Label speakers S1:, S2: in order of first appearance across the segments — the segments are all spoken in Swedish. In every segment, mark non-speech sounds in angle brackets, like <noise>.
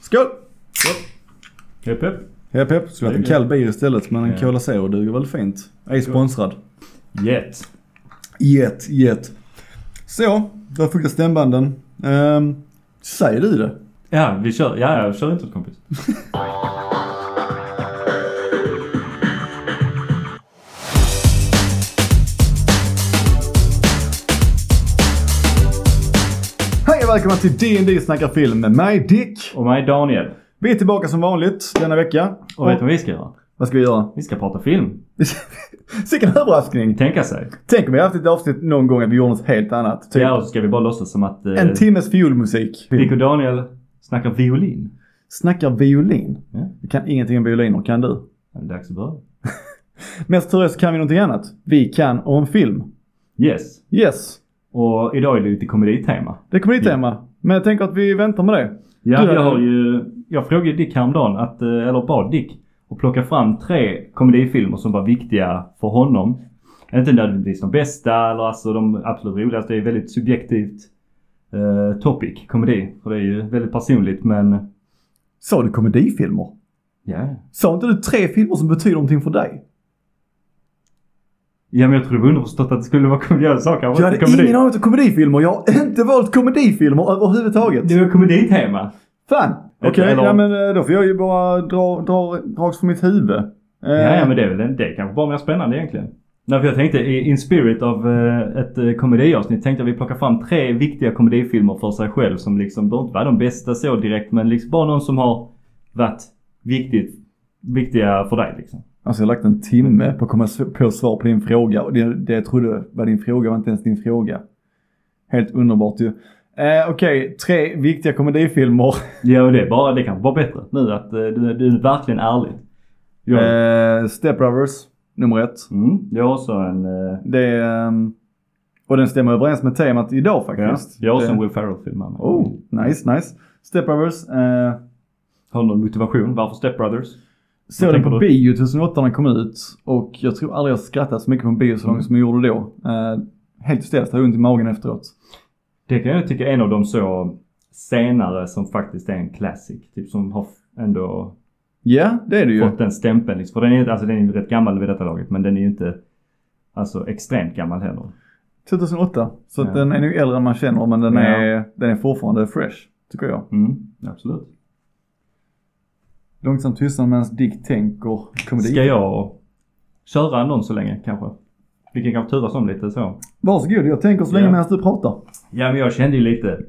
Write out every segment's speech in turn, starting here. S1: Skål!
S2: Hepp hepp.
S1: Hepp hepp. Skulle haft en kall beer istället men en
S2: Ja.
S1: Cola Zero duger väl fint. Ej sponsrad.
S2: Jet.
S1: Jet, jet. Så, där fick jag stämbanden. Um, säger du det?
S2: Ja, vi kör. Ja, jag kör inte åt kompis.
S1: Hej och välkomna till D&D snackar film med mig Dick.
S2: Och mig Daniel.
S1: Vi är tillbaka som vanligt denna vecka.
S2: Och vet du vad vi ska göra?
S1: Vad ska vi göra? <laughs>
S2: Vi ska prata film.
S1: Sicken överraskning!
S2: Tänka sig.
S1: Tänk om vi haft ett avsnitt någon gång att vi gjorde något helt annat. Typ
S2: Ja, och så ska vi bara låtsas som att... Eh,
S1: en timmes fiolmusik.
S2: Dick och Daniel snackar violin.
S1: Snackar violin.
S2: Ja.
S1: Vi kan ingenting om violiner, kan du?
S2: Det är dags att börja.
S1: Mest tur är så kan vi någonting annat. Vi kan om film.
S2: Yes.
S1: Yes,
S2: Och idag är det lite komeditema.
S1: det kommer ditt tema. Men jag tänker att vi väntar med det.
S2: Ja,
S1: Du
S2: jag
S1: hade-
S2: har ju... eh, Jag frågade Dick häromdagen, att, eh, eller bad Dick, att plocka fram tre komedifilmer som var viktiga för honom. Inte nödvändigtvis de bästa eller alltså de absolut roligaste. Det är väldigt subjektivt eh, topic, komedi. För det är ju väldigt personligt men...
S1: Sa du komedifilmer?
S2: Ja.
S1: Sa inte du tre filmer som betyder någonting för dig?
S2: Ja men jag tror det var underförstått att det skulle vara komediösa saker.
S1: Jag hade ingen aning om komedifilmer. Jag har inte valt komedifilmer överhuvudtaget.
S2: Det var komeditema.
S1: Fan! Okej,
S2: Okej, eller-
S1: ja, men eh, då får jag ju bara dra, dra, drags från mitt huvud. Eh,
S2: Ja, ja men det är väl det är kanske bara mer spännande egentligen. Nej, för jag tänkte i- in spirit av eh, ett eh, komediavsnitt tänkte jag vi plockar fram tre viktiga komedifilmer för sig själv som liksom behöver inte vara de bästa så direkt men liksom bara någon som har varit viktigt, viktiga för dig liksom.
S1: Alltså jag har lagt en timme på att komma s- på svar på din fråga och det, det jag trodde var din fråga var inte ens din fråga. Helt underbart ju. Eh, Okej, tre viktiga komedifilmer.
S2: Ja och det är bara, det kanske bara bättre nu att eh, du, du är verkligen ärlig. Jag,
S1: Eh, Step Brothers, nummer ett.
S2: mm, jag har också en, eh,
S1: Det är, ehm, och den stämmer överens med temat idag
S2: ja,
S1: faktiskt.
S2: jag har också en
S1: det,
S2: Will Ferrell-film här med.
S1: Oh, nice, nice. Step Brothers. Eh,
S2: Har du någon motivation varför Step Brothers?
S1: Såg den
S2: tänker
S1: på
S2: du?
S1: bio 2008 när den kom ut och jag tror aldrig jag skrattat så mycket på en bio så långt
S2: Mm.
S1: som jag gjorde då. Eh, helt ställt, hade ont i magen efteråt.
S2: Det kan jag tycka är en av de så senare som faktiskt är en classic. Typ som har f- ändå
S1: Ja, det är det ju.
S2: fått den stämpeln. Liksom. För den är, ju- alltså, den är ju rätt gammal vid detta laget men den är ju inte alltså, extremt gammal heller.
S1: 2008. Så att
S2: Ja.
S1: den är nog äldre än man känner men den,
S2: Ja.
S1: är, den är fortfarande fresh, tycker jag.
S2: Mm, absolut.
S1: Långsamt tystnar medan Dick tänker komedi.
S2: Ska jag köra någon så länge kanske? Vi kan kanske turas om lite så.
S1: Varsågod, jag tänker så länge
S2: Ja.
S1: medan du pratar.
S2: Ja men jag kände ju lite.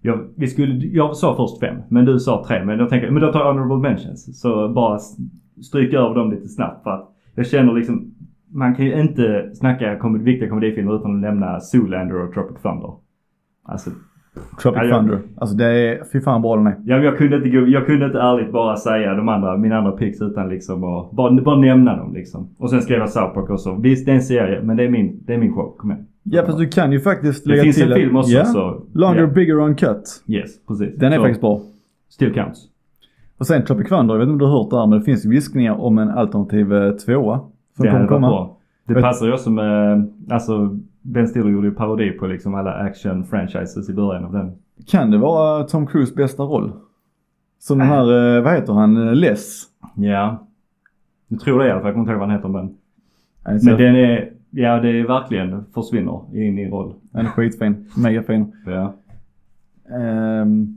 S2: Jag, vi skulle, jag sa först fem men du sa tre. Men jag tänker, men då tar jag honorable mentions. Så bara s- stryk över dem lite snabbt för att jag känner liksom man kan ju inte snacka kom, viktiga komedifilmer utan att nämna Zoolander och Tropic Thunder. Alltså
S1: Tropic
S2: Ja, ja.
S1: Thunder. Alltså det är, fy fan bra den är.
S2: Ja, men jag, kunde inte, jag kunde inte ärligt bara säga de andra, mina andra picks utan liksom att bara, bara nämna dem liksom. Och sen skrev jag South Park också. Visst, det är en serie, men det är min, det är min show. Kom igen.
S1: Ja fast du kan ju faktiskt
S2: det
S1: lägga
S2: finns
S1: till
S2: en film också
S1: Ja.
S2: så...
S1: Longer, bigger, uncut.
S2: ja. Yes, precis.
S1: Den är
S2: så,
S1: faktiskt bra.
S2: Still counts.
S1: Och sen Tropic Thunder, jag vet inte om du har hört det här men det finns ju viskningar om en alternativ eh, tvåa. Som kommer
S2: det hade varit
S1: komma.
S2: bra. Det
S1: Vet-
S2: passar ju också med, alltså Ben Stiller gjorde ju parodi på liksom alla action-franchises i början av den.
S1: Kan det vara eh, Tom Cruise bästa roll? Som
S2: Äh.
S1: den här, eh, vad heter han, eh, Less?
S2: Ja. Jag tror det i alla fall, jag kommer inte ihåg vad den heter men.
S1: Alltså,
S2: Men den är, ja det är verkligen försvinner in i roll.
S1: Den är skitfin, megafin.
S2: Ja.
S1: Ehm,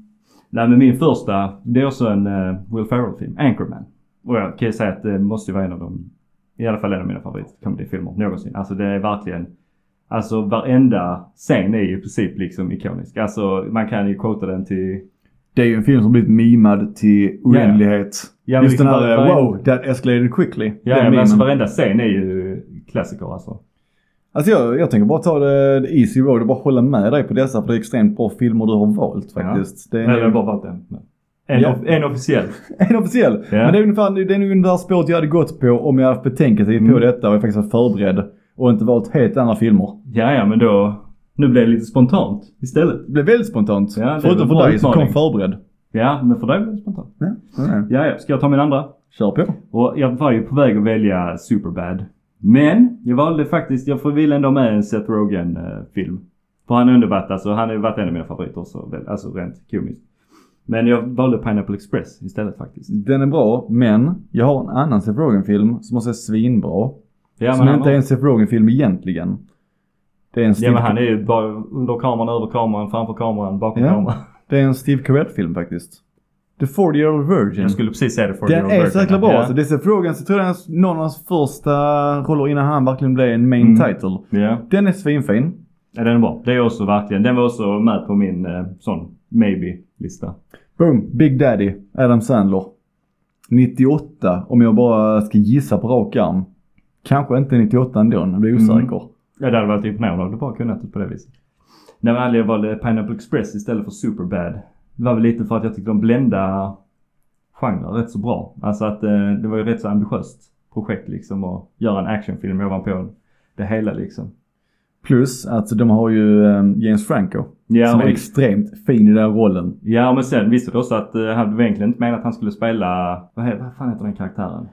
S2: Nej men min första, det är också en eh, Will Ferrell-film, Anchorman. Och jag kan ju säga att det måste ju vara en av de, i alla fall en av mina favoritkomedifilmer någonsin. Alltså det är verkligen, alltså varenda scen är ju i princip liksom ikonisk. Alltså man kan ju quota den till,
S1: det är ju en film som blivit mimad till oändlighet.
S2: Ja, men
S1: Just den
S2: liksom
S1: här eh,
S2: varje-
S1: wow, that escalated quickly.
S2: ja
S1: den
S2: men alltså
S1: memen.
S2: varenda scen är ju klassiker alltså.
S1: alltså jag, jag tänker bara ta det the easy road och bara hålla med dig på dessa för det är extremt bra filmer du har valt faktiskt. Det
S2: Eller jag
S1: är
S2: har bara valt en. Men. En,
S1: Ja.
S2: off- en officiell.
S1: en officiell.
S2: Ja.
S1: Men det <laughs> är ungefär, det är nog ungefär spåret jag hade gått på om jag haft betänketid på
S2: Mm.
S1: detta och jag faktiskt varit förberedd. Och inte valt helt andra filmer.
S2: Ja, ja men då, nu blev det lite spontant istället.
S1: Det blev väldigt spontant.
S2: Ja, det är väl
S1: Förutom
S2: bra
S1: för dig som kom
S2: utmaning.
S1: förberedd.
S2: Ja, men för dig blev det spontant.
S1: Mm.
S2: Ja, ja. Ska jag ta min andra?
S1: Kör på.
S2: Och jag var ju på väg att välja Superbad. Men jag valde faktiskt, jag får vill ändå ha med en Seth Rogen eh, film. För han är underbatt alltså, han har ju varit en av mina favoriter också, väl, alltså rent komiskt. Men jag valde Pineapple Express istället faktiskt.
S1: Den är bra, men jag har en annan Seth Rogen-film som också är svinbra.
S2: Ja,
S1: som
S2: han
S1: inte
S2: var-
S1: är en Seth Rogen-film egentligen. Det är en
S2: ja
S1: Steve,
S2: men han är ju bara under kameran, över kameran, framför kameran, bakom
S1: Ja.
S2: kameran.
S1: det är en Steve Carell-film faktiskt. The 40 year old virgin.
S2: Jag skulle precis säga det för
S1: Den
S2: Your
S1: är så
S2: Virgin.
S1: jäkla bra
S2: Ja.
S1: alltså. Det är Seth Rogen, så tror jag det är någon av hans första roller innan han verkligen blev en main
S2: Mm.
S1: title.
S2: Ja.
S1: Den är svinfin.
S2: Ja, den är bra. Det är också verkligen. Den var också med på min eh, sån maybe-lista.
S1: Boom! Big Daddy, Adam Sandler. 98, om jag bara ska gissa på rak arm. Kanske inte 98 ändå, jag
S2: Mm.
S1: blir osäker.
S2: Ja, det hade varit imponerande om du bara kunnat det på det viset. Nej, men anledningen valde Pineapple Express istället för Superbad. Det var väl lite för att jag tyckte de blända genrer rätt så bra. Alltså att eh, det var ju rätt så ambitiöst projekt liksom att göra en actionfilm ovanpå det hela liksom.
S1: Plus att de har ju eh, James Franco.
S2: Ja,
S1: som är
S2: och,
S1: extremt fin i den rollen.
S2: ja men sen visste du också att eh, han det var egentligen inte menat att han skulle spela, vad, he, vad fan heter den karaktären?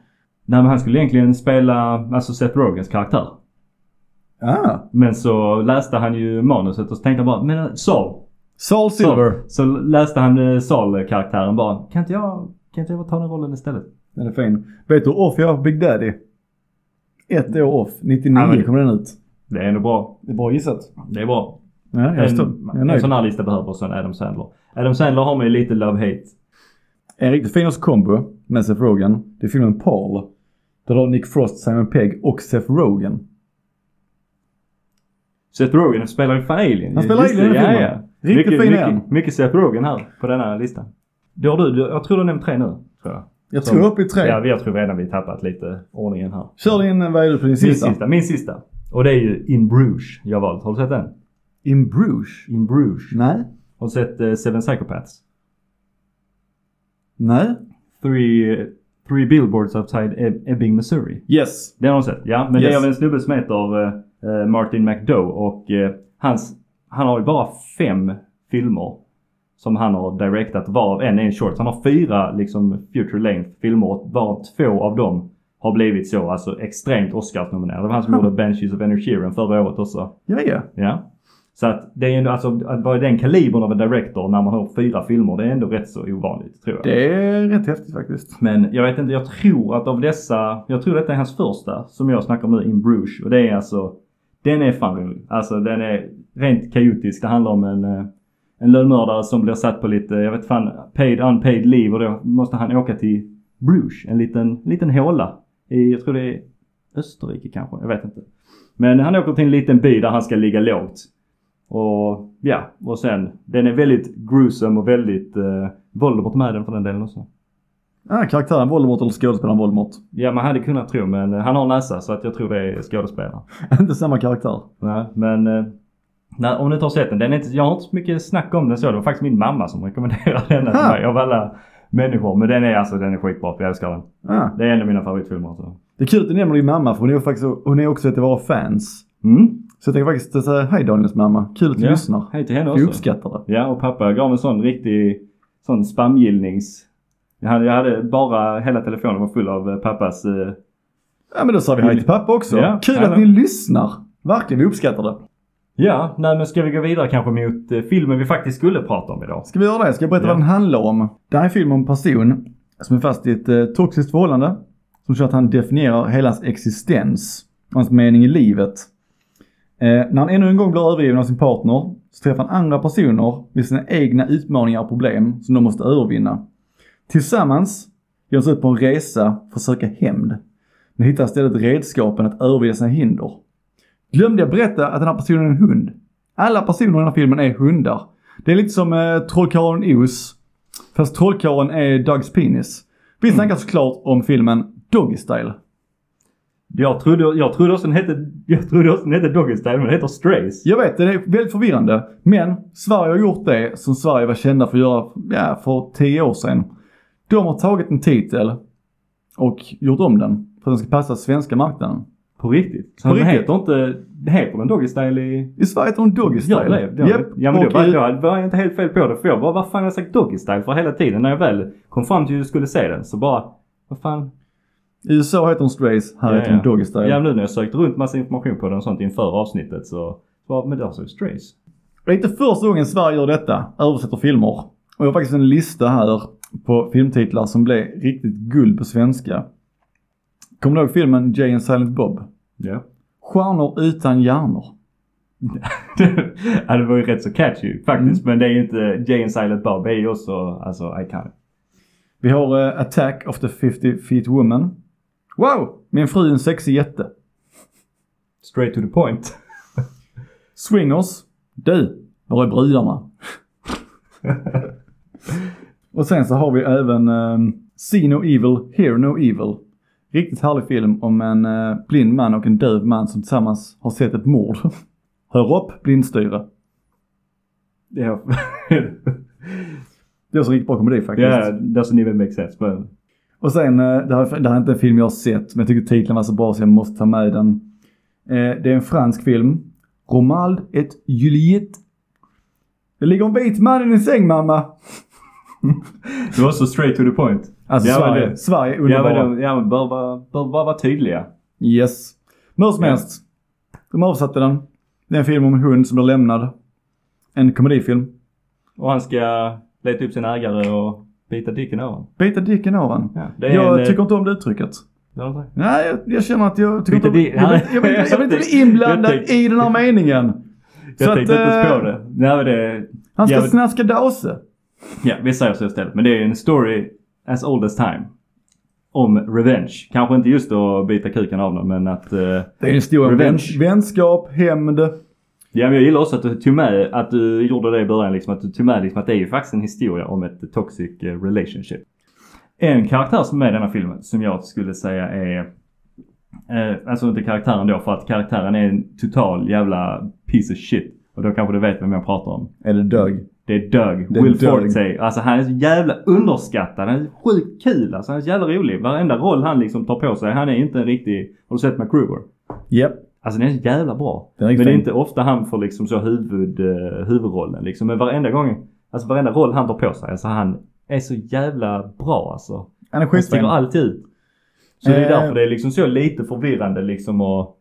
S2: Nej men han skulle egentligen spela, alltså Seth Rogans karaktär.
S1: Ah,
S2: Men så läste han ju manuset och så tänkte han bara, men eh, Saul.
S1: Saul Silver.
S2: Så läste han eh, Saul-karaktären bara, kan inte jag, kan inte jag ta den rollen istället?
S1: Den är fin. Vet du hur off jag är på Big Daddy? Ett år off. 99
S2: Ja, men-
S1: kom den ut.
S2: Det är ändå bra.
S1: Det är bra gissat.
S2: Det är bra.
S1: Ja, jag förstår.
S2: En,
S1: Jag är
S2: en
S1: nöjd.
S2: sån här lista behöver också en Adam Sandler. Adam Sandler har man ju lite love-hate.
S1: En riktigt fin års kombo med Seth Rogen. Det är filmen Paul. Där har Nick Frost, Simon Pegg och Seth Rogen.
S2: Seth Rogen spelar ju fan Alien.
S1: Han spelar
S2: Just det,
S1: Alien i
S2: ja,
S1: filmen.
S2: ja.
S1: Riktigt
S2: mycket,
S1: fin är
S2: mycket, mycket Seth Rogen här på denna listan. Då har du, du, jag tror du har nämnt tre nu. Tror jag.
S1: Jag
S2: Som-
S1: tror upp i tre.
S2: Ja, vi- jag tror redan vi tappat lite ordningen här.
S1: Kör in, vad är det för din eh,
S2: Min
S1: sista?
S2: sista, min sista. Och det är ju In Bruges jag har valt. Har du sett den?
S1: In Bruges?
S2: In Bruges.
S1: Nej.
S2: Har du sett eh, Seven Psychopaths?
S1: Nej.
S2: Three, eh, three Billboards Outside Eb- Ebbing, Missouri.
S1: Yes.
S2: Den har du sett? Ja, men det
S1: Yes.
S2: är av en snubbe som heter eh, eh, Martin McDoe och eh, hans, han har ju bara fem filmer som han har directat varav en är en short. Så Han har fyra liksom feature length filmer varav två av dem har blivit så alltså extremt Oscarsnominerade. Det var
S1: <laughs>
S2: han som
S1: Hmm.
S2: gjorde Banshees of Energy förra året också.
S1: Ja, ja.
S2: Ja. Så att det är ju ändå, alltså att vara i den kalibern av en director när man har fyra filmer det är ändå rätt så ovanligt tror jag.
S1: Det är rätt häftigt faktiskt.
S2: Men jag vet inte, jag tror att av dessa, jag tror detta är hans första som jag snackar om nu, In Bruges. Och det är alltså, den är fan rolig. Alltså den är rent kaotisk. Det handlar om en, eh, en lönnmördare som blir satt på lite, jag vet fan, paid unpaid leave och då måste han åka till Bruges, en liten, liten håla. I, jag tror det är Österrike kanske, jag vet inte. Men han åker till en liten by där han ska ligga lågt. Och ja, och sen, den är väldigt gruesome och väldigt eh, Voldemort med den för den delen också.
S1: Ah, karaktären Voldemort eller skådespelaren Voldemort. <laughs>
S2: Ja, man hade kunnat tro, men eh, han har näsa så att jag tror det är skådespelare.
S1: Inte samma karaktär.
S2: Nej, men eh, nej, om du inte har sett den, den är inte, jag har inte så mycket snack om den så. Det var faktiskt min mamma som rekommenderade <laughs> den till
S1: Ha.
S2: mig av alla människor. Men den är alltså, den är skitbra. Jag älskar den.
S1: Ah.
S2: Det är en av mina favoritfilmer. Så.
S1: Det är kul att du nämner din mamma för hon är faktiskt, hon är också ett av våra fans.
S2: Mm.
S1: Så jag tänker faktiskt säga hej Daniels mamma, kul att du
S2: Ja.
S1: lyssnar.
S2: Hej till henne
S1: Vi
S2: också.
S1: uppskattar det.
S2: Ja, och pappa gav en sån riktig sån spamgillnings... Jag hade, jag hade bara, hela telefonen var full av eh, pappas... Eh,
S1: Ja men då sa vi hej till pappa också.
S2: Ja,
S1: Kul
S2: hej
S1: att
S2: då.
S1: ni lyssnar. Verkligen, vi uppskattar det.
S2: ja, nej men ska vi gå vidare kanske mot eh, filmen vi faktiskt skulle prata om idag?
S1: Ska vi göra det? Ska jag berätta
S2: Ja.
S1: vad den handlar om? Det här är en film om en person som är fast i ett eh, toxiskt förhållande. Som gör att han definierar hela hans existens. och Hans mening i livet. Eh, när han ännu en gång blir övergiven av sin partner så träffar han andra personer med sina egna utmaningar och problem som de måste övervinna. Tillsammans ger de sig ut på en resa för att söka hämnd. Men hittar istället redskapen att överge sina hinder. Glömde jag berätta att den här personen är en hund. Alla personer i den här filmen är hundar. Det är lite som eh, Trollkarlen Oz. Fast Trollkarlen är Dougs penis. Vi snackar
S2: Mm.
S1: såklart om filmen Doggy Style.
S2: Jag trodde, jag trodde också den hette, jag trodde också den hette Doggy Style, men den heter Strays.
S1: Jag vet, det är väldigt förvirrande. Men Sverige har gjort det som Sverige var kända för att göra ja, för tio år sedan. De har tagit en titel och gjort om den. För att den ska passa svenska marknaden.
S2: På riktigt? Så
S1: På
S2: den
S1: riktigt.
S2: heter inte, heter den Doggy Style i...
S1: I Sverige heter den Doggy Style.
S2: Ja, det, det,
S1: Japp,
S2: ja men
S1: och
S2: då var,
S1: i-
S2: då var jag inte helt fel på det. För jag bara, vad fan har jag sagt Doggy Style för hela tiden? När jag väl kom fram till att jag skulle se den så bara, vad fan?
S1: I USA heter den Strays, här
S2: Ja,
S1: heter den
S2: ja.
S1: Doggy Style.
S2: Ja nu när jag sökt runt massa information på den och sånt inför avsnittet så, bara, men där står ju Strays.
S1: Det är inte första gången Sverige gör detta, översätter filmer. Och jag har faktiskt en lista här på filmtitlar som blev riktigt guld på svenska. Kommer du ihåg filmen Jay and Silent Bob?
S2: Ja.
S1: Stjärnor utan hjärnor.
S2: <laughs> ja, det var ju rätt så catchy faktiskt. Men det är ju inte, Jay and Silent Bob är ju också alltså iconic.
S1: Vi har eh, Attack of the 50 Feet Woman. Wow! Min fru är en sexig jätte.
S2: Straight to the point.
S1: Swingers. Du, var är brudarna? Och sen så har vi även eh, See No Evil, Hear No Evil. Riktigt härlig film om en eh, blind man och en döv man som tillsammans har sett ett mord. <laughs> Hör upp, blindstyre.
S2: Ja, <laughs>
S1: Det är också en riktigt bra komedi faktiskt.
S2: yeah, doesn't even make sense. Men
S1: Och sen, eh, det här, det här är inte en film jag har sett, men jag tycker titeln var så bra så jag måste ta med den. Eh, Det är en fransk film. Romald et Juliette. Det ligger en vit man i din säng mamma.
S2: det var så straight to the point.
S1: Alltså
S2: Ja, men
S1: Sverige.
S2: det-
S1: Sverige är
S2: Ja
S1: underbara.
S2: men, de- ja, men bör, vara- bör bara vara tydliga.
S1: Yes. Men hur som
S2: Ja.
S1: helst. De översatte den. Det är en film om en hund som blir lämnad. En komedifilm.
S2: Och han ska leta upp sin ägare och bita dicken av honom.
S1: Bita dicken av han.
S2: Ja, det är
S1: Jag
S2: en, eh,
S1: tycker inte om det uttrycket.
S2: inte...
S1: Nej, jag, jag känner att jag tycker inte
S2: Bita
S1: om...
S2: di-
S1: Jag vill, jag vill, jag vill
S2: <laughs>
S1: inte bli inblandad
S2: Jag tänkte-
S1: i den här meningen.
S2: <laughs> Jag tänkte
S1: att,
S2: inte ens på
S1: eh,
S2: det. Nej, men det.
S1: Han ska
S2: Ja, men-
S1: snaska dase.
S2: Ja, vi säger så istället. Men det är en story as old as time. Om revenge. Kanske inte just att bita kuken av någon men att... eh,
S1: Det är en stor
S2: Revenge.
S1: vän, vänskap, hämnd.
S2: ja, men jag gillar också att du tog med, att du gjorde det i början liksom. Att du tog med liksom att det är ju faktiskt en historia om ett toxic eh, relationship. En karaktär som är med i denna filmen som jag skulle säga är... Eh, alltså inte karaktären då för att karaktären är en total jävla piece of shit. Och då kanske du vet vem jag pratar om.
S1: Eller dög.
S2: Det är Doug.
S1: Det är
S2: Will
S1: Doug.
S2: Forte. Alltså han är så jävla underskattad. Han är sjukt kul. Alltså han är så jävla rolig. Varenda roll han liksom tar på sig. Han är inte en riktig... Har du sett MacGruber?
S1: Japp.
S2: Alltså den är så jävla bra.
S1: Den är
S2: Men
S1: riktigt
S2: det är
S1: fin.
S2: inte ofta han får liksom så huvud, eh, huvudrollen liksom. Men varenda gång... Alltså varenda roll han tar på sig. Alltså han är så jävla bra alltså.
S1: Han är
S2: Han sticker
S1: skitfin.
S2: alltid ut. Så det är
S1: Eh.
S2: därför det är liksom så lite förvirrande liksom att...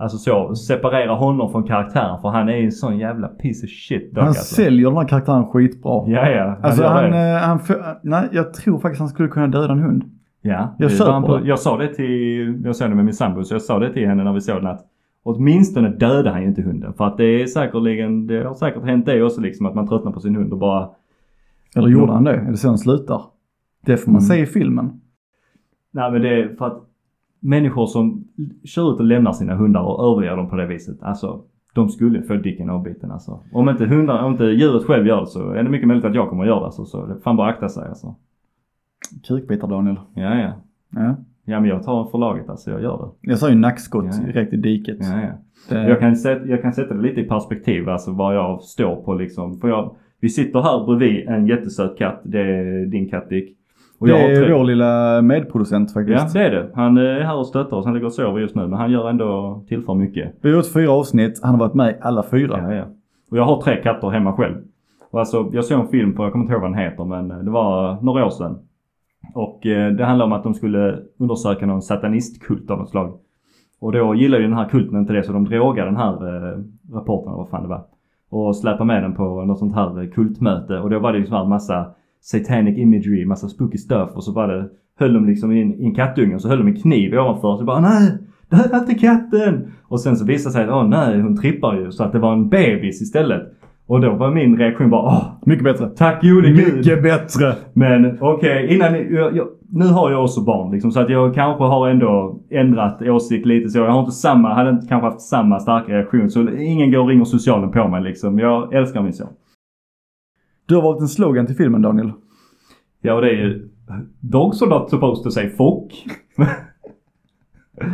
S2: Alltså så separera honom från karaktären. För han är ju en sån jävla piece of shit Doug
S1: Han
S2: alltså.
S1: säljer den här karaktären skitbra.
S2: Ja, ja. Han
S1: Alltså
S2: gör
S1: han,
S2: det.
S1: eh, han, för, nej jag tror faktiskt han skulle kunna döda en hund.
S2: Ja,
S1: Jag
S2: det
S1: köper
S2: var han på,
S1: det.
S2: jag sa det till, jag såg det med min sambo, så jag sa det till henne när vi såg den att åtminstone dödar han ju inte hunden. För att det är säkerligen, det har säkert hänt det också liksom att man tröttnar på sin hund och bara,
S1: Eller gjorde han det? Eller så han slutar? Det får man
S2: Mm.
S1: se i filmen.
S2: nej men det är för att människor som kör ut och lämnar sina hundar och överger dem på det viset, alltså de skulle få dicken avbiten alltså. Om inte hundar, om inte djuret själv gör det så är det mycket möjligt att jag kommer att göra det alltså. Så det fan bara akta sig alltså.
S1: Kukbitar Daniel.
S2: Ja, ja.
S1: Ja.
S2: Ja men jag tar förlaget alltså, jag gör det.
S1: Jag sa ju nackskott
S2: Ja, ja.
S1: direkt i diket.
S2: Ja, ja.
S1: Det,
S2: Jag kan, sätta, jag kan sätta det lite i perspektiv, alltså vad jag står på liksom. För jag, vi sitter här bredvid en jättesöt katt. Det är din katt Dick. Och
S1: det
S2: jag har
S1: är
S2: tre-
S1: vår lilla medproducent faktiskt.
S2: Ja, det är det. Han är här och stöttar oss. Han ligger och sover just nu, men han gör ändå, tillför mycket.
S1: Vi har gjort fyra avsnitt, han har varit med i alla fyra.
S2: Ja, ja. Och jag har tre katter hemma själv. Och alltså, jag såg en film på, jag kommer inte ihåg vad den heter, men eh, det var några år sedan. Och eh, det handlade om att de skulle undersöka någon satanistkult av något slag. Och då gillade ju den här kulten inte det så de drogade den här eh, rapporten, eller vad fan det var. Och släpade med den på något sånt här eh, kultmöte och då var det liksom här massa satanic imagery, massa spooky stuff och så var det, höll de liksom i en, i en kattunge och så höll de en kniv ovanför så bara nej! Döda inte katten! Och sen så visade det sig att åh nej, hon trippar ju så att det var en bebis istället. Och då var min reaktion bara åh,
S1: Mycket bättre.
S2: tack gode gud!
S1: Mycket bättre!
S2: Men okej, innan ni- jag, jag, nu har jag också barn liksom, så att jag kanske har ändå ändrat åsikt lite så. Jag har inte samma, hade inte kanske haft samma starka reaktion. Så ingen går och ringer socialen på mig liksom. Jag älskar min son.
S1: Du har valt en slogan till filmen Daniel.
S2: Ja och det är ju Dogs are not supposed to say fuck.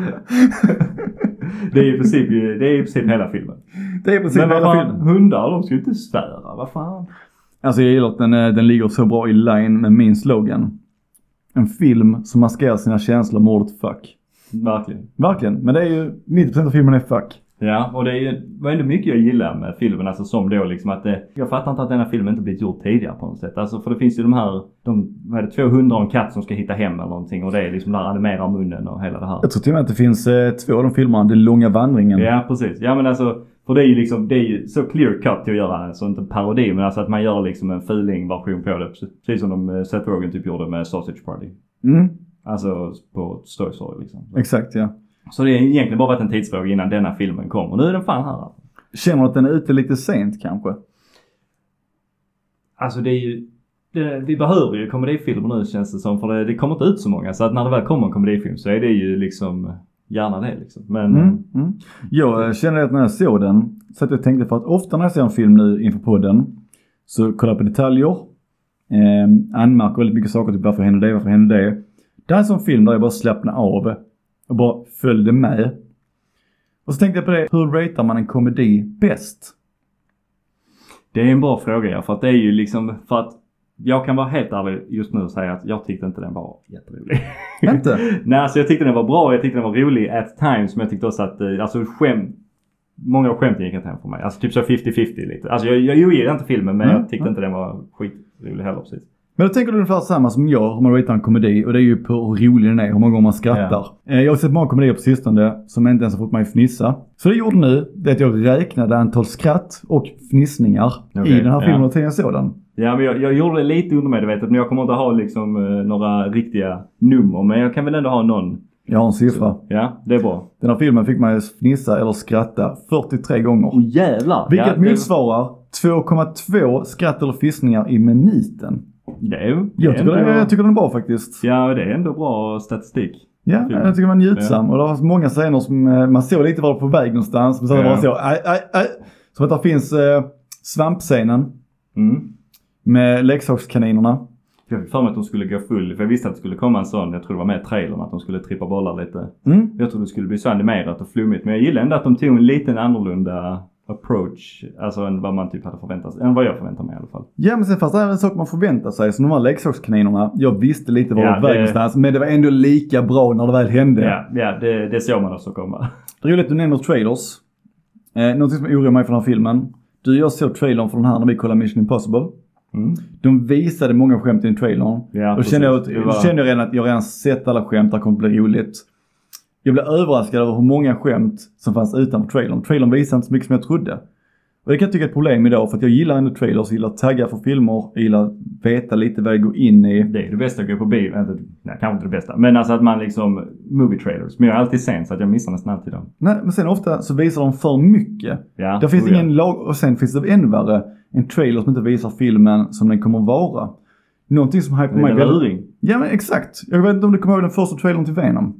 S2: <laughs> det är i princip, ju- det är i princip hela filmen.
S1: Det är precis
S2: Men vad
S1: hela
S2: fan,
S1: filmen.
S2: hundar de ska ju inte svära. Vad fan.
S1: Alltså jag gillar att den, eh, den ligger så bra i line med min slogan. En film som maskerar sina känslor med ordet fuck.
S2: Verkligen.
S1: Verkligen, men det är ju 90% av filmen är fuck.
S2: Ja, och det är ju, var ändå mycket jag gillar med filmen, alltså som då liksom att det, jag fattar inte att denna filmen inte blivit gjord tidigare på något sätt. Alltså för det finns ju de här, de, vad är det, 200 och en katt som ska hitta hem eller någonting och det är liksom där animerar munnen och hela det här.
S1: Jag tror till och med att det finns eh, två av de filmerna, Den långa vandringen.
S2: Ja, precis. Ja men alltså, För det är ju liksom, det är ju så clear cut till att göra, alltså inte en parodi men alltså att man gör liksom en feeling-version på det. Precis som de, eh, Seth Rogen typ gjorde med Sausage Party.
S1: Mm,
S2: Alltså på Stoy Story liksom.
S1: exakt ja.
S2: Så det är egentligen bara varit en tidsfråga innan denna filmen kom och nu är den fan här. alltså.
S1: Känner du att den är ute lite sent kanske? Mm,
S2: Alltså det är ju, det, vi behöver ju komedifilmer nu känns det som för det, det kommer inte ut så många så att när det väl kommer en komedifilm så är det ju liksom gärna det liksom. Men
S1: Mm. Mm. Jag eh, känner att när jag såg den, så att jag tänkte för att ofta när jag ser en film nu inför podden, så kollar jag på detaljer, eh, anmärker väldigt mycket saker, typ varför hände det, varför hände det. Det här är en sån film där jag bara slappnade av och bara följde med. Och så tänkte jag på det, hur ratear man en komedi bäst?
S2: det är en bra fråga ja, för att det är ju liksom för att jag kan vara helt ärlig just nu och säga att jag tyckte inte den var jätterolig. <laughs>
S1: Inte?
S2: Nej, alltså jag tyckte den var bra. Jag tyckte den var rolig at times. Men jag tyckte också att, eh, alltså skämt. Många av skämten gick inte hem för mig. Alltså typ så 50-50 lite. Alltså jag, jag ogillar inte filmen men
S1: Mm,
S2: jag tyckte inte den var skitrolig heller precis.
S1: Men då tänker du ungefär samma som jag om man ratear en komedi och det är ju på hur rolig den är, hur många gånger man skrattar. Eh, Jag har sett många komedier på sistone som inte ens har fått mig att fnissa. Så det jag gjorde nu, det är att jag räknade antal skratt och fnissningar
S2: Okej,
S1: i den här filmen
S2: ja.
S1: och tiden sådan.
S2: Ja men jag, jag gjorde det lite undermedvetet men jag kommer inte ha liksom eh, några riktiga nummer. Men jag kan väl ändå ha någon.
S1: Jag har en siffra.
S2: Ja, det är bra.
S1: Den här filmen fick mig att fnissa eller skratta 43 gånger.
S2: Och jävlar!
S1: Vilket
S2: ja,
S1: motsvarar 2,2 skratt eller fnissningar i minuten.
S2: Det, det, är- det,
S1: Jag
S2: är
S1: tycker,
S2: ändå-
S1: det, jag tycker den är bra faktiskt.
S2: Ja, det är ändå bra statistik.
S1: Ja,
S2: Filmen.
S1: jag tycker man är njutsam. Och det var många scener som eh, man såg lite var på väg någonstans. Men sen
S2: Ja.
S1: bara så, aj, aj, aj. Som att det finns eh, svampscenen
S2: Mm.
S1: med leksakskaninerna.
S2: Jag fick för mig att de skulle gå full, för jag visste att det skulle komma en sån, jag tror det var med i trailern, att de skulle trippa bollar lite.
S1: Mm.
S2: Jag trodde det skulle bli så animerat och flummigt men jag gillar ändå att de tog en liten annorlunda approach. Alltså än vad man typ hade förväntat sig. Än vad jag förväntar mig i alla fall.
S1: Ja men sen fanns det även saker man förväntar sig. Som de här leksakskaninerna. Jag visste lite var de
S2: Ja,
S1: var på väg
S2: det-
S1: någonstans. Men det var ändå lika bra när det väl hände.
S2: Ja, ja det, det såg man också komma.
S1: Roligt du nämner trailers. Eh, någonting som oroar mig för den här filmen. Du och jag såg trailern för den här när vi kollade Mission Impossible.
S2: Mm.
S1: De visade många skämt i trailern.
S2: Ja,
S1: Då
S2: precis.
S1: kände jag, att,
S2: Det var-
S1: då kände jag redan att jag redan sett alla skämt, det här kommer bli roligt. Jag blev överraskad över hur många skämt som fanns utanför trailern. Trailern visade inte så mycket som jag trodde. Och det kan jag tycka är ett problem idag för att jag gillar ändå trailers, jag gillar taggar för filmer, jag gillar att veta lite vad jag går in i.
S2: Det är det bästa att gå på bio. Eller, nej, kanske inte det bästa. Men alltså att man liksom, movie trailers. Men jag är alltid sen så att jag missar nästan alltid dem.
S1: Nej, men sen ofta så visar de för mycket.
S2: Ja,
S1: Det finns
S2: oh ja.
S1: ingen lag och sen finns det ännu värre. En trailer som inte visar filmen som den kommer vara. Någonting som hypar
S2: En
S1: mig
S2: liten
S1: väldigt...
S2: luring.
S1: Ja men exakt. Jag vet inte om du kommer ihåg den första trailern till Venom?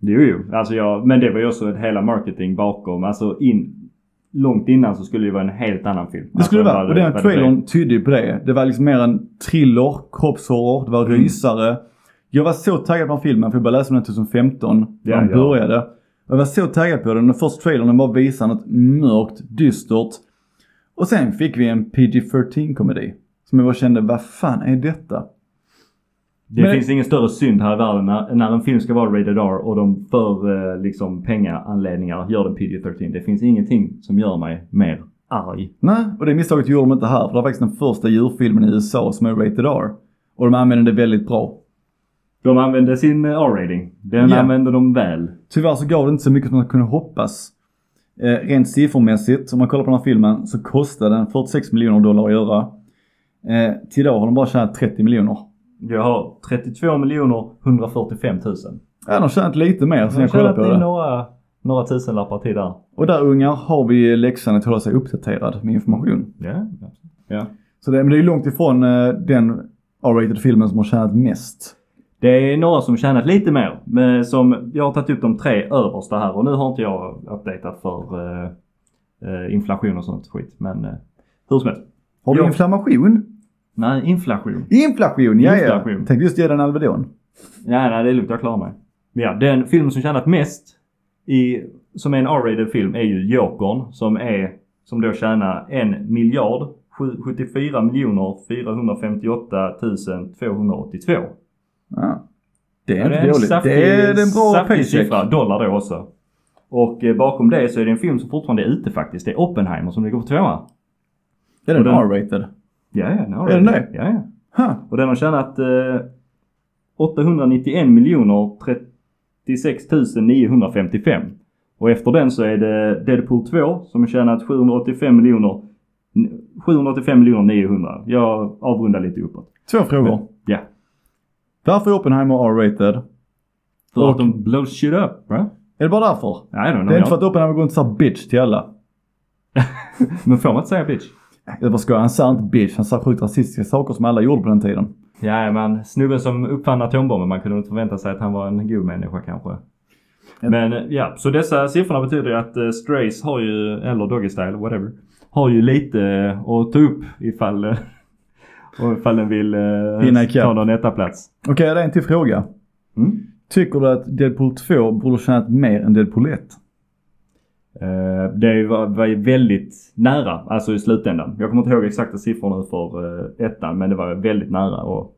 S2: Jo, jo. Alltså jag, men det var ju också ett hela marketing bakom. Alltså in, långt innan så skulle det vara en helt annan film. Alltså,
S1: Det skulle det vara. Och den här
S2: trailern.
S1: trailern tydde ju på det. Det var liksom mer en thriller, kroppshorror, det var
S2: Mm.
S1: rysare. Jag var så taggad på den filmen, för jag började läsa den 2015, när
S2: Ja,
S1: den
S2: ja.
S1: började. Jag var så taggad på den. Den första trailern den bara visade något mörkt, dystert. Och sen fick vi en PG-13 komedi. Som jag bara kände, vad fan är detta?
S2: Det
S1: Men-
S2: finns ingen större synd här i världen när, när en film ska vara rated R och de för eh, liksom pengaanledningar gör den PG-13. Det finns ingenting som gör mig mer arg.
S1: Nej, och det misstaget gjorde de inte här. För det var faktiskt den första djurfilmen i USA som är rated R. Och de använde det väldigt bra.
S2: De använde sin eh, R-rating. Den
S1: Ja.
S2: använde de väl.
S1: Tyvärr så gav det inte så mycket som man kunde hoppas. Eh, rent siffermässigt, om man kollar på den här filmen, så kostade den 46 miljoner dollar att göra. Eh, till idag har de bara tjänat 30 miljoner.
S2: Jag har 32 miljoner 145 000.
S1: Ja, de har tjänat lite mer sen
S2: Jag
S1: jag
S2: känner
S1: kollade
S2: att
S1: på
S2: det är
S1: det.
S2: några, några tusenlappar till där.
S1: Och där ungar har vi läxan att hålla sig uppdaterad med information.
S2: Ja. ja.
S1: Så det, men det är långt ifrån eh, den R-rated filmen som har tjänat mest.
S2: Det är några som tjänat lite mer. Men som, jag har tagit upp de tre översta här och nu har inte jag uppdaterat för eh, eh, inflation och sånt skit. Men eh, hur som helst.
S1: Har du
S2: Ja.
S1: inflammation?
S2: Nej, inflation.
S1: Inflation, ja ja.
S2: Inflation.
S1: Tänkte just ge den Alvedon.
S2: Nej, nej, det är lugnt. Jag klarar mig. Men Ja, den filmen som tjänat mest i, som är en R-rated film är ju Jokern som är, som då tjänar en miljard sju- 74 miljoner 458 282.
S1: Ja. Det är
S2: Ja,
S1: inte dåligt. det är det är en bra
S2: saftig
S1: paycheck.
S2: siffra. Dollar då också. Och eh, bakom det så är det en film som fortfarande är ute faktiskt. Det är Oppenheimer som ligger på tvåa.
S1: Är den
S2: Och den-
S1: R-rated?
S2: Ja, ja, den har
S1: Är
S2: det.
S1: den det?
S2: Ja, ja.
S1: Huh.
S2: Och den har tjänat eh, 891 miljoner 36 955. Och efter den så är det Deadpool 2 som har tjänat 785 miljoner. 785 miljoner 900. Jag avrundar lite uppåt.
S1: Två frågor.
S2: Ja.
S1: Varför är Oppenheimer R-rated?
S2: För
S1: Och-
S2: att de blow shit up, va?
S1: Är det bara därför?
S2: I don't know.
S1: Det är inte för
S2: Jag,
S1: att Oppenheimer går runt och säger bitch till alla.
S2: men får man inte säga bitch?
S1: Jag bara skojar, han sa inte bitch. Han sa sjukt rasistiska saker som alla gjorde på den tiden.
S2: Ja, men snubben som uppfann atombomben, man kunde inte förvänta sig att han var en god människa kanske. Men eh, ja, så dessa siffrorna betyder ju att eh, Strays har ju, eller Doggy Style, whatever, har ju lite eh, att ta upp ifall, eh, <laughs> och ifall den vill eh,
S1: Hinna ikapp.
S2: ta någon etta-plats.
S1: Okej, det är en till fråga.
S2: Mm.
S1: Tycker du att Deadpool 2 borde ha tjänat mer än Deadpool 1?
S2: Eh, Det var var ju väldigt nära, alltså i slutändan. Jag kommer inte ihåg exakta siffror nu för eh, ettan, men det var väldigt nära. Och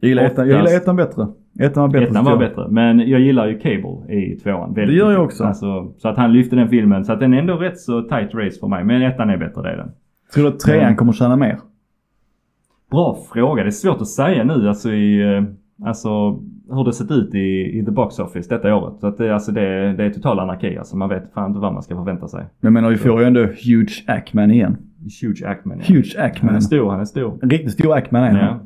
S1: Jag gillar ettan, jag gillar
S2: Oftast.
S1: ettan bättre. Ettan var bättre.
S2: Ettan
S1: tycker
S2: var
S1: jag.
S2: bättre. Men jag gillar ju Cable i tvåan. Väldigt
S1: Det gör jag
S2: mycket.
S1: också.
S2: Alltså, så att han lyfte den filmen. Så att den är ändå rätt så tight race för mig. Men ettan är bättre, det är den.
S1: Tror du att trean
S2: Mm.
S1: kommer tjäna mer?
S2: Bra fråga. Det är svårt att säga nu alltså i... eh, Alltså hur det sett ut i, i the box office detta året. Så att det, alltså det, det är total anarki alltså. Man vet fan inte vad man ska förvänta sig.
S1: Men jag menar, vi får ju ändå Huge Ackman igen.
S2: Huge Ackman. Ja.
S1: Huge
S2: Han är
S1: Ackman.
S2: stor, han är stor.
S1: En riktigt stor Ackman är han.
S2: Ja.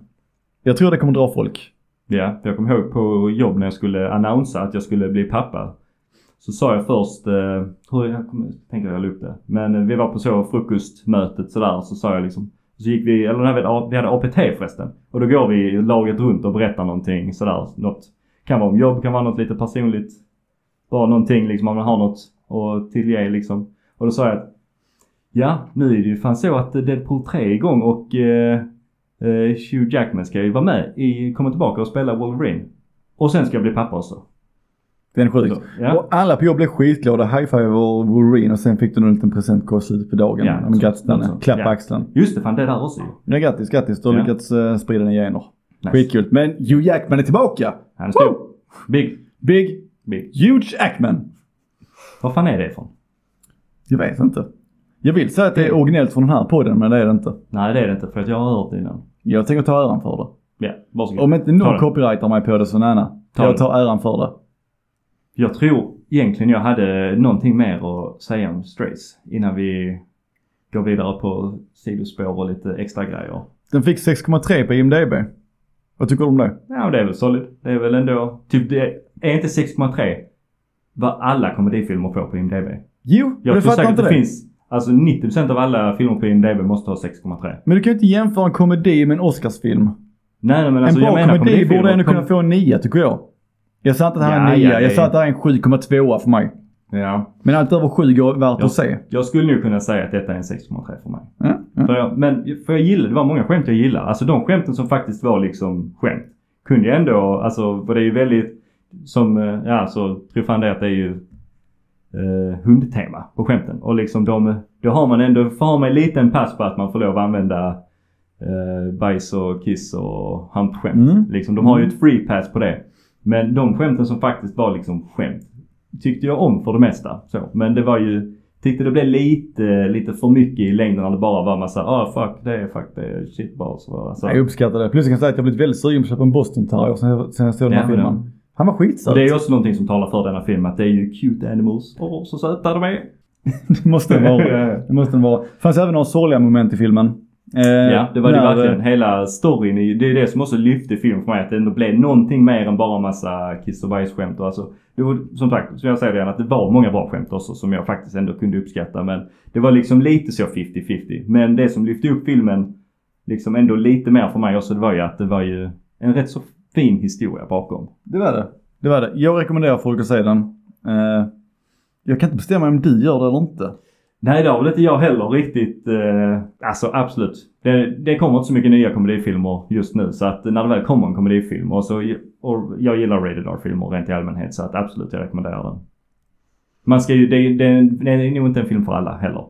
S1: Jag tror det kommer dra folk.
S2: Ja, jag kommer ihåg på jobb när jag skulle annonsa att jag skulle bli pappa. Så sa jag först, eh, hur jag kommer, tänker jag la upp det. Men eh, vi var på så frukostmötet sådär så sa jag liksom. Så gick vi, eller när vi, hade A- vi hade APT förresten. Och då går vi laget runt och berättar någonting sådär. Något, kan vara om jobb, kan vara något lite personligt. Bara någonting liksom om man har något att tillge liksom. Och då sa jag att ja, nu är det ju fan så att Deadpool 3 är igång och eh, Eh, Hugh Jackman ska ju vara med i, komma tillbaka och spela Wolverine. Och sen ska jag bli pappa också.
S1: Det är sjukt.
S2: Så, ja.
S1: Och alla på jobb blev skitglada. High five över Wolverine och sen fick du en liten presentkort slutet på dagen.
S2: Ja,
S1: Ja, Men grattis
S2: något
S1: Danne.
S2: sånt.
S1: Klapp på
S2: Ja.
S1: axeln.
S2: Just det, fan det där också ju.
S1: Ja, grattis, grattis. Du har
S2: Ja.
S1: lyckats eh, sprida dina gener.
S2: Nice.
S1: Skitkul. Men Hugh Jackman är tillbaka!
S2: Han är stor. Big.
S1: Big
S2: Big.
S1: Huge Ackman!
S2: Vad fan är det ifrån?
S1: Jag vet inte. Jag vill säga att det är originellt från den här podden, men det är det inte.
S2: Nej det är det inte för att jag har hört det innan.
S1: Jag tänker ta äran för det.
S2: Ja, varsågod.
S1: Om inte
S2: Ta
S1: någon
S2: det.
S1: copyrightar mig på det så nana.
S2: Ta
S1: Jag
S2: det.
S1: tar äran för det.
S2: Jag tror egentligen jag hade någonting mer att säga om Strays innan vi går vidare på sidospår och lite extra grejer.
S1: Den fick 6,3 på IMDB. Vad tycker du om det?
S2: Ja, det är väl solid. Det är väl ändå, typ det är inte 6,3 vad alla komedifilmer får på IMDB.
S1: Jo, men
S2: Jag
S1: du
S2: tror
S1: fattar
S2: säkert
S1: inte
S2: det,
S1: det.
S2: finns, alltså 90% av alla filmer på IMDB måste ha 6,3.
S1: Men du kan ju inte jämföra en komedi med en Oscarsfilm.
S2: Nej, nej men alltså
S1: en
S2: jag
S1: bra
S2: menar
S1: komedi
S2: komedifilmer.
S1: borde ändå
S2: kom-
S1: kunna få en 9 tycker jag. Jag sa inte att det här är en
S2: Ja,
S1: 9.
S2: ja,
S1: jag
S2: det
S1: sa
S2: är-
S1: att det här är en 7,2 för mig.
S2: Ja.
S1: Men allt över 7 går värt
S2: Ja.
S1: att se.
S2: Jag skulle nog kunna säga att detta är en 6,3 för mig.
S1: Ja, ja.
S2: För jag, men för jag gillar, det var många skämt jag gillade. Alltså de skämten som faktiskt var liksom skämt. Kunde jag ändå, alltså för det är ju väldigt, som, eh, ja så tror fan det att det är ju eh, hundtema på skämten. Och liksom de, då har man ändå, får ha mig lite en pass på att man får lov att använda eh, bajs och kiss och hampskämt.
S1: Mm.
S2: Liksom, de har ju ett free pass på det. Men de skämten som faktiskt var liksom skämt tyckte jag om för det mesta. Så. Men det var ju, tyckte det blev lite, lite för mycket i längden när det bara var massa ah fuck det, fuck det, shit balls. och Alltså,
S1: Jag uppskattar det. Plus jag kan säga att jag blivit väldigt sugen på att köpa en Boston Terrier sen jag- sen jag såg den här
S2: Ja, men-
S1: filmen. Han var skitsöt.
S2: och det är ju också någonting som talar för denna film att det är ju cute animals. Åh så söta de är.
S1: <laughs> Det måste den
S2: <laughs>
S1: vara. Det måste den vara. Det fanns även några sorgliga moment i filmen. Eh,
S2: Ja, det var det
S1: när,
S2: verkligen.
S1: eh,
S2: Hela storyn, i- det är det som också lyfte film för mig. Att det ändå blev någonting mer än bara massa kiss och bajs-skämt. Och Alltså, det var, som sagt, som jag säger redan, att det var många bra skämt också som jag faktiskt ändå kunde uppskatta. Men det var liksom lite så 50-50. Men det som lyfte upp filmen liksom ändå lite mer för mig också, det var ju att det var ju en rätt så fin historia bakom.
S1: Det var det. Det var det. Jag rekommenderar folk att se den. Eh, jag kan inte bestämma om du gör det eller inte.
S2: Nej, det har väl inte jag heller riktigt. Eh, alltså absolut. Det, det kommer inte så mycket nya komedifilmer just nu så att när det väl kommer en komedifilm och så och jag gillar rated R-filmer rent i allmänhet så att absolut jag rekommenderar den. Man ska ju, det, det, det är nog inte en film för alla heller.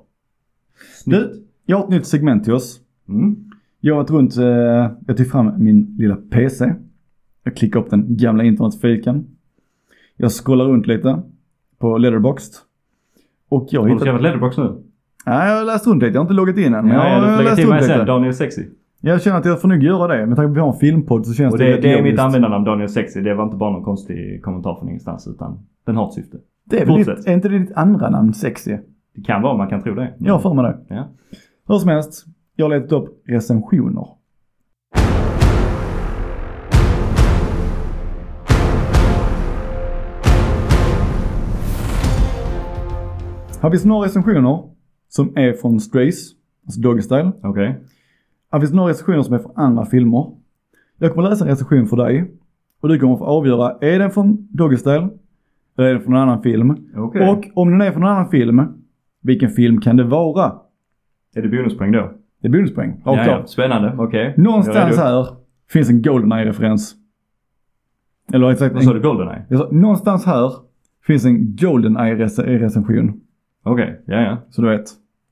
S1: Du, jag har ett nytt segment till oss.
S2: Mm.
S1: Jag har varit runt, eh, jag tog fram min lilla PC. Jag klickar upp den gamla internetfilken. Jag scrollar runt lite på Letterboxd. Och jag
S2: Har du
S1: hittar...
S2: skaffat Letterbox nu?
S1: Nej, jag har läst runt lite. Jag har inte loggat in än. Men
S2: ja,
S1: jag
S2: du
S1: har
S2: lägger
S1: läst
S2: till mig
S1: runt
S2: sen.
S1: lite.
S2: Daniel Sexy.
S1: Jag känner att jag får nog göra det. Med tanke på att vi har en filmpodd så känns
S2: Och
S1: det,
S2: det,
S1: rätt
S2: det är mitt
S1: logiskt.
S2: användarnamn Daniel Sexy. Det var inte bara någon konstig kommentar från ingenstans utan den har ett syfte.
S1: Det är, väl ditt,
S2: Fortsätt.
S1: är inte det ditt andra namn sexy?
S2: Det kan vara, man kan tro det.
S1: Jag har för mig det.
S2: Ja.
S1: Hur som helst, jag har letat upp recensioner. Här finns några recensioner som är från Strays, alltså Doggy Style.
S2: Okej.
S1: Här finns några recensioner som är från andra filmer. Jag kommer läsa en recension för dig och du kommer få avgöra, är den från Doggy Style eller är den från en annan film?
S2: Okej.
S1: Och om den är från en annan film, vilken film kan det vara?
S2: Är det bonuspoäng då?
S1: Det är bonuspoäng, rakt
S2: Ja, ja.
S1: av.
S2: Spännande, okej. Jag är
S1: Någonstans
S2: redo.
S1: här finns en Goldeneye-referens. Eller rätt sagt,
S2: Vad sa
S1: en,
S2: du? Goldeneye?
S1: jag sa, någonstans här finns en Goldeneye-recension.
S2: Okej, ja ja.
S1: Så du vet,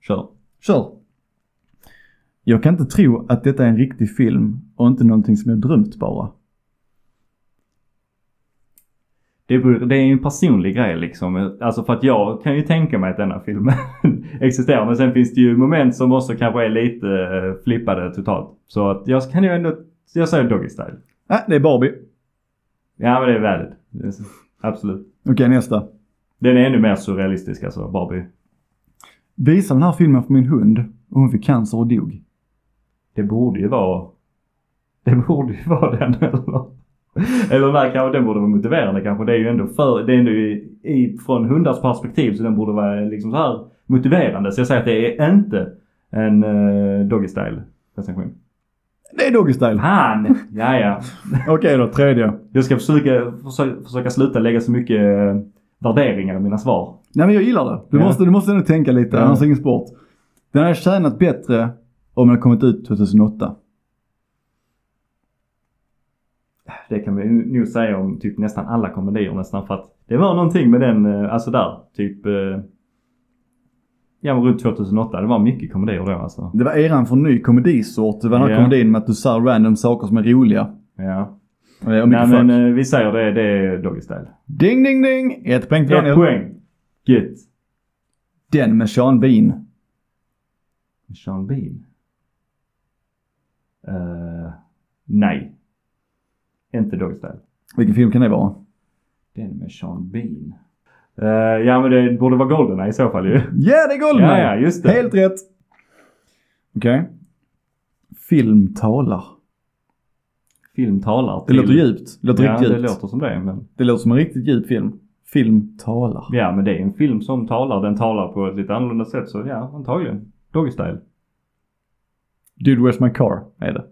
S2: Kör.
S1: kör! Jag kan inte tro att detta är en riktig film och inte någonting som jag drömt bara.
S2: Det beror- det är ju en personlig grej liksom. Alltså för att jag kan ju tänka mig att denna filmen <laughs> existerar. Men sen finns det ju moment som också kanske är lite eh, flippade totalt. Så att jag kan ju ändå, jag säger Doggy Style.
S1: Nej, Äh, det är Barbie.
S2: Ja men det är värdigt. Det är så- Absolut.
S1: Okej, nästa.
S2: Den är ännu mer surrealistisk alltså, Barbie.
S1: Visa den här filmen för min hund och hon fick cancer och dog.
S2: Det borde ju vara... Det borde ju vara den eller? Eller nej, kanske den borde vara motiverande kanske. Det är ju ändå för... Det är ändå i, i, från hundars perspektiv så den borde vara liksom så här motiverande. Så jag säger att det är inte en uh, Doggy Style recension.
S1: Det är Doggy
S2: <laughs>
S1: Style.
S2: Fan! Ja, ja.
S1: Okej då, tredje.
S2: Jag ska försöka, försöka, försöka sluta lägga så mycket eh, värderingar i mina svar.
S1: Nej men jag gillar det. Du,
S2: Ja.
S1: måste, du måste ändå tänka lite,
S2: Ja.
S1: annars är det ingen sport. Den hade tjänat bättre om den hade kommit ut 2008.
S2: Det kan vi nog säga om typ nästan alla komedier nästan för att det var någonting med den, eh, alltså där, typ eh, Ja men runt 2008, det var mycket komedier då alltså.
S1: Det var eran för ny komedisort. Det var den här
S2: Ja.
S1: komedin med att du sa random saker som är roliga.
S2: Ja.
S1: Eh, Och
S2: Nej
S1: mycket
S2: men
S1: fuck.
S2: eh, vi säger det, det är Doggy Style.
S1: Ding ding ding! Ett poäng till
S2: Ett
S1: Daniel.
S2: poäng. Gött.
S1: Den med Sean Bean.
S2: Sean Bean. Eh, nej. Inte Doggy Style.
S1: Vilken film kan det vara?
S2: Den med Sean Bean. Eh, ja men det borde vara Goldeneye i så fall ju.
S1: Ja, det är
S2: Ja,
S1: Goldeneye!
S2: ja, just det.
S1: Helt rätt! Okej. Film talar.
S2: Film talar
S1: Det
S2: till-
S1: låter djupt. Det låter
S2: Ja,
S1: riktigt
S2: det
S1: djupt.
S2: låter som det men.
S1: det låter som en riktigt djup film. Film talar.
S2: Ja, men det är en film som talar. Den talar på ett lite annorlunda sätt. Så ja, antagligen. Doggy style.
S1: Dude, where's my car? Är det.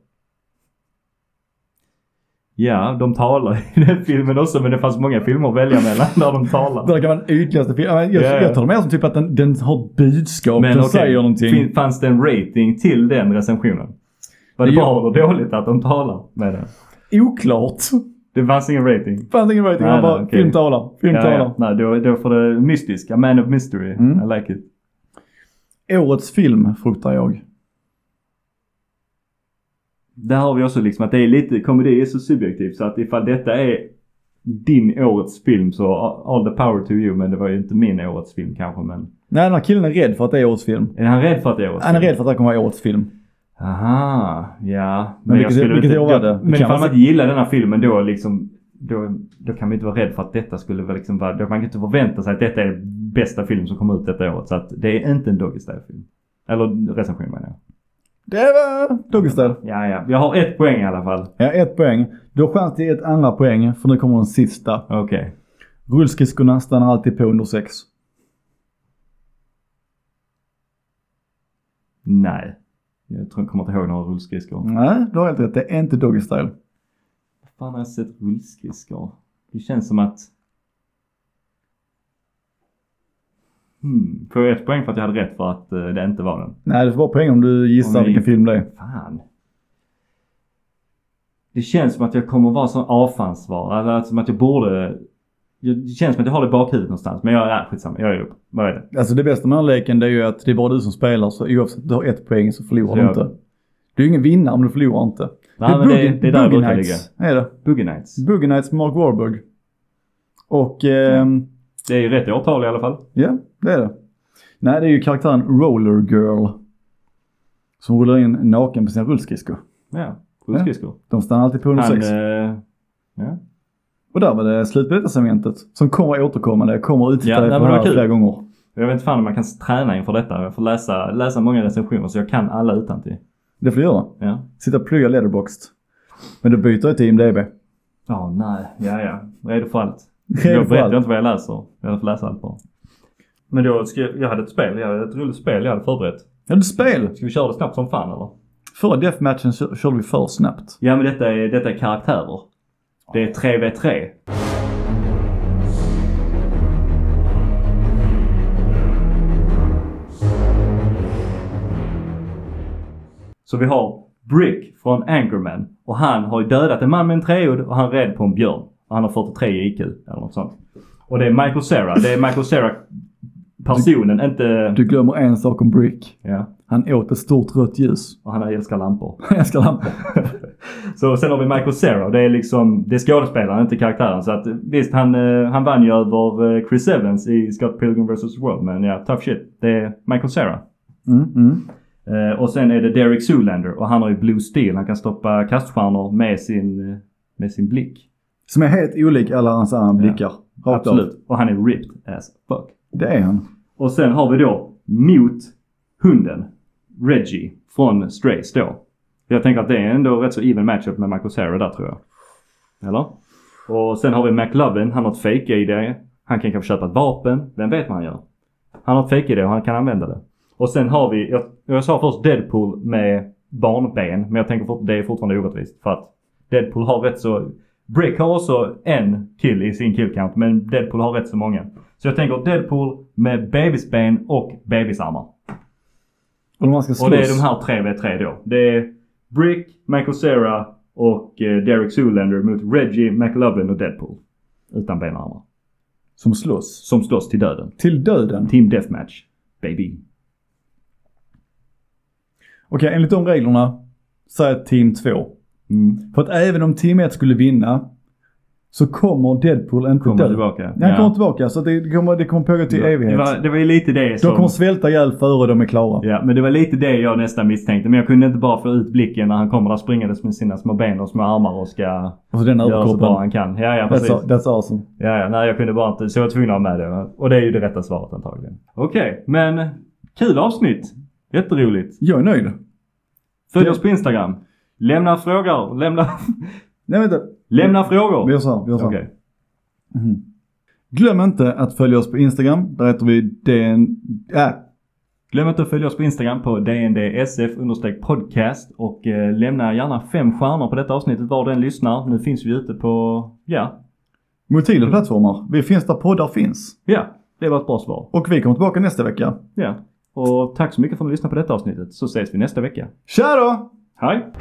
S2: Ja, de talar i den filmen också. Men det fanns många filmer att välja mellan där de talar.
S1: Det kan vara den ytligaste filmen. Jag,
S2: Ja, ja.
S1: jag tar det mer som typ att den, den har ett budskap. den
S2: okej,
S1: säger någonting.
S2: fin- Fanns det en rating till den recensionen? Var det
S1: Det
S2: bra eller dåligt att de talar med den?
S1: Oklart. <laughs>
S2: Det fanns ingen rating.
S1: Fanns ingen rating.
S2: Nej,
S1: Man bara
S2: nej, okej.
S1: film talar. Film
S2: Ja,
S1: talar.
S2: ja. Nej, då, då får det mystisk. A man of mystery.
S1: Mm.
S2: I like it.
S1: Årets film fruktar jag.
S2: Där har vi också liksom att det är lite, komedi är så subjektivt så att ifall detta är din årets film så all the power to you men det var ju inte min årets film kanske men
S1: Nej, den här killen är rädd för att det är årets film.
S2: Är han rädd för att det är årets
S1: Han är
S2: film?
S1: rädd för att det här kommer vara årets film.
S2: Aha, ja. Men,
S1: vilket-
S2: skulle
S1: vilket
S2: inte-
S1: år var det?
S2: då-
S1: Det
S2: Men
S1: kan
S2: ifall man
S1: man-
S2: inte gillar den här filmen då liksom då, då kan man inte vara rädd för att detta skulle väl liksom vara, då man kan inte förvänta sig att detta är bästa film som kommer ut detta året. Så att det är inte en Doggy Style-film. Eller recension menar jag.
S1: Det var Doggy Style.
S2: Ja, ja. Jag har ett poäng i alla fall.
S1: Ja, ett poäng. Du har chans till ett andra poäng för nu kommer den sista.
S2: Okej.
S1: Rullskidskorna stannar alltid på under sex.
S2: Nej. Jag tror jag kommer inte ihåg några rullskridskor.
S1: Nej, du har helt rätt. Det är inte Doggy Style.
S2: Vad fan har jag sett rullskridskor? Det känns som att... Hmm. Får jag ett poäng för att jag hade rätt för att eh, det inte var den?
S1: Nej, du får bara poäng om du gissar
S2: Om vi-
S1: vilken film det är.
S2: Fan. Det känns som att jag kommer vara sån avfallsvara. Eller att- som att jag borde... jag- Det känns som att jag har det i bakhuvudet någonstans. Men jag är skitsamma. Jag är upp. Vad är det?
S1: Alltså det bästa med den här leken det är ju att det är bara du som spelar så oavsett om du har ett poäng så förlorar
S2: Så
S1: du
S2: jag-
S1: inte. Du är ingen vinnare om du förlorar inte.
S2: Nej, men det, det är där jag brukar ligga.
S1: ligga. Är det.
S2: Boogie Nights.
S1: Boogie Nights med Mark Warburg. Och ehm,
S2: Det är ju rätt årtal i alla fall.
S1: ja, det är det. Nej, det är ju karaktären Roller Girl. Som rullar in naken på sina rullskridskor.
S2: Ja, rullskridskor.
S1: De stannar alltid på
S2: Han,
S1: 106.
S2: eh,
S1: Och där var det slut på detta segmentet. Som kommer återkommande. Jag kommer utsätta
S2: Ja,
S1: dig
S2: nej,
S1: för
S2: men
S1: det
S2: det
S1: här
S2: var kul.
S1: flera gånger.
S2: jag vet inte fan om man kan träna inför detta. Jag får läsa, läsa många recensioner så jag kan alla utantill.
S1: Det får du göra.
S2: Ja.
S1: Sitta och plugga letterboxd. Men du byter ju till IMDB.
S2: Ja, nej. Ja, ja. Redo för allt.
S1: Redo
S2: Jag
S1: för allt.
S2: berättar inte vad jag läser. Jag får läsa allt bara. Men då skrev, jag hade ett spel, jag hade ett roligt spel jag hade förberett.
S1: Ja, det är spel!
S2: Ska vi köra det snabbt som fan eller?
S1: Förra deathmatchen kö- körde vi för snabbt.
S2: Ja men detta är, detta är karaktärer. Det är 3v3. Så vi har Brick från Anchorman och han har ju dödat en man med en treod och han red på en björn. Och han har 43 i IQ eller något sånt. Och det är Michael Cera. Det är Michael Cera personen, inte...
S1: Du glömmer en sak om Brick.
S2: Ja,
S1: Han åt ett stort rött ljus. <laughs>
S2: och han älskar lampor.
S1: Jag älskar lampor.
S2: Så sen har vi Michael Cera. Det är liksom, det är skådespelaren, inte karaktären. Så att visst, han, eh, han vann ju över eh, Chris Evans i Scott Pilgrim vs. World. Men ja, tough shit. Det är Michael Cera.
S1: Mm, mm.
S2: Eh, och sen är det Derek Zoolander och han har ju Blue Steel. Han kan stoppa kaststjärnor med sin, eh, med sin blick.
S1: Som är helt olik alla hans andra blickar. Rakt av.
S2: Absolut. Och han är ripped as fuck.
S1: Det är han.
S2: Och sen har vi då mot hunden Reggie från Strays då. Jag tänker att det är ändå rätt så even matchup med Michael Cera där tror jag. Eller? Och sen har vi McLovin. Han har ett fake id Han kan kanske köpa ett vapen. Vem vet vad han gör? Han har ett fake id och han kan använda det. Och sen har vi, jag, jag sa först Deadpool med barnben. Men jag tänker fort, det är fortfarande orättvist. För att Deadpool har rätt så... Brick har också en kill i sin killcount. Men Deadpool har rätt så många. Så jag tänker Deadpool med bebisben och bebisarmar.
S1: Och de här ska slåss.
S2: Och det är de här tre v 3 då. Det är Brick, Michael Cera och eh, Derek Zoolander mot Reggie, McLovin och Deadpool. Utan ben och armar.
S1: Som slåss.
S2: Som slåss till döden.
S1: Till döden.
S2: Team Deathmatch. Baby.
S1: Okej, enligt de reglerna så är team 2.
S2: Mm.
S1: För att även om team 1 skulle vinna så kommer Deadpool inte
S2: Kommer
S1: dö.
S2: tillbaka.
S1: Nej, Han kommer tillbaka så att det kommer, det kommer pågå till evighet.
S2: Det var, det var ju lite det
S1: De
S2: som...
S1: kommer svälta ihjäl före de är klara.
S2: Ja, men det var lite det jag nästan misstänkte. Men jag kunde inte bara få ut blicken när han kommer där springandes med sina små ben och små armar och ska
S1: Och så den
S2: göra så bra
S1: överkroppen.
S2: han kan. Ja, ja, precis.
S1: That's, that's awesome.
S2: Ja, ja, nej jag kunde bara inte, så jag var tvungen att ha med det. Och det är ju det rätta svaret antagligen. Okej, men kul avsnitt. Jätteroligt.
S1: Jag är nöjd.
S2: Följ
S1: Det-
S2: oss på Instagram. Lämna frågor, lämna, <laughs>
S1: Nej vänta.
S2: lämna frågor.
S1: Vi
S2: Okej,
S1: gör så här, vi gör så här. Glöm inte att följa oss på Instagram. Där heter vi DN... Äh,
S2: glöm inte att följa oss på Instagram på dndsf podcast och eh, lämna gärna fem stjärnor på detta avsnittet var den lyssnar. Nu finns vi ute på, ja,
S1: multipla plattformar. Vi finns där poddar finns.
S2: ja, det var ett bra svar.
S1: Och vi kommer tillbaka nästa vecka.
S2: Ja, och tack så mycket för att ni lyssnade på detta avsnittet så ses vi nästa vecka.
S1: Tja då!
S2: Hej!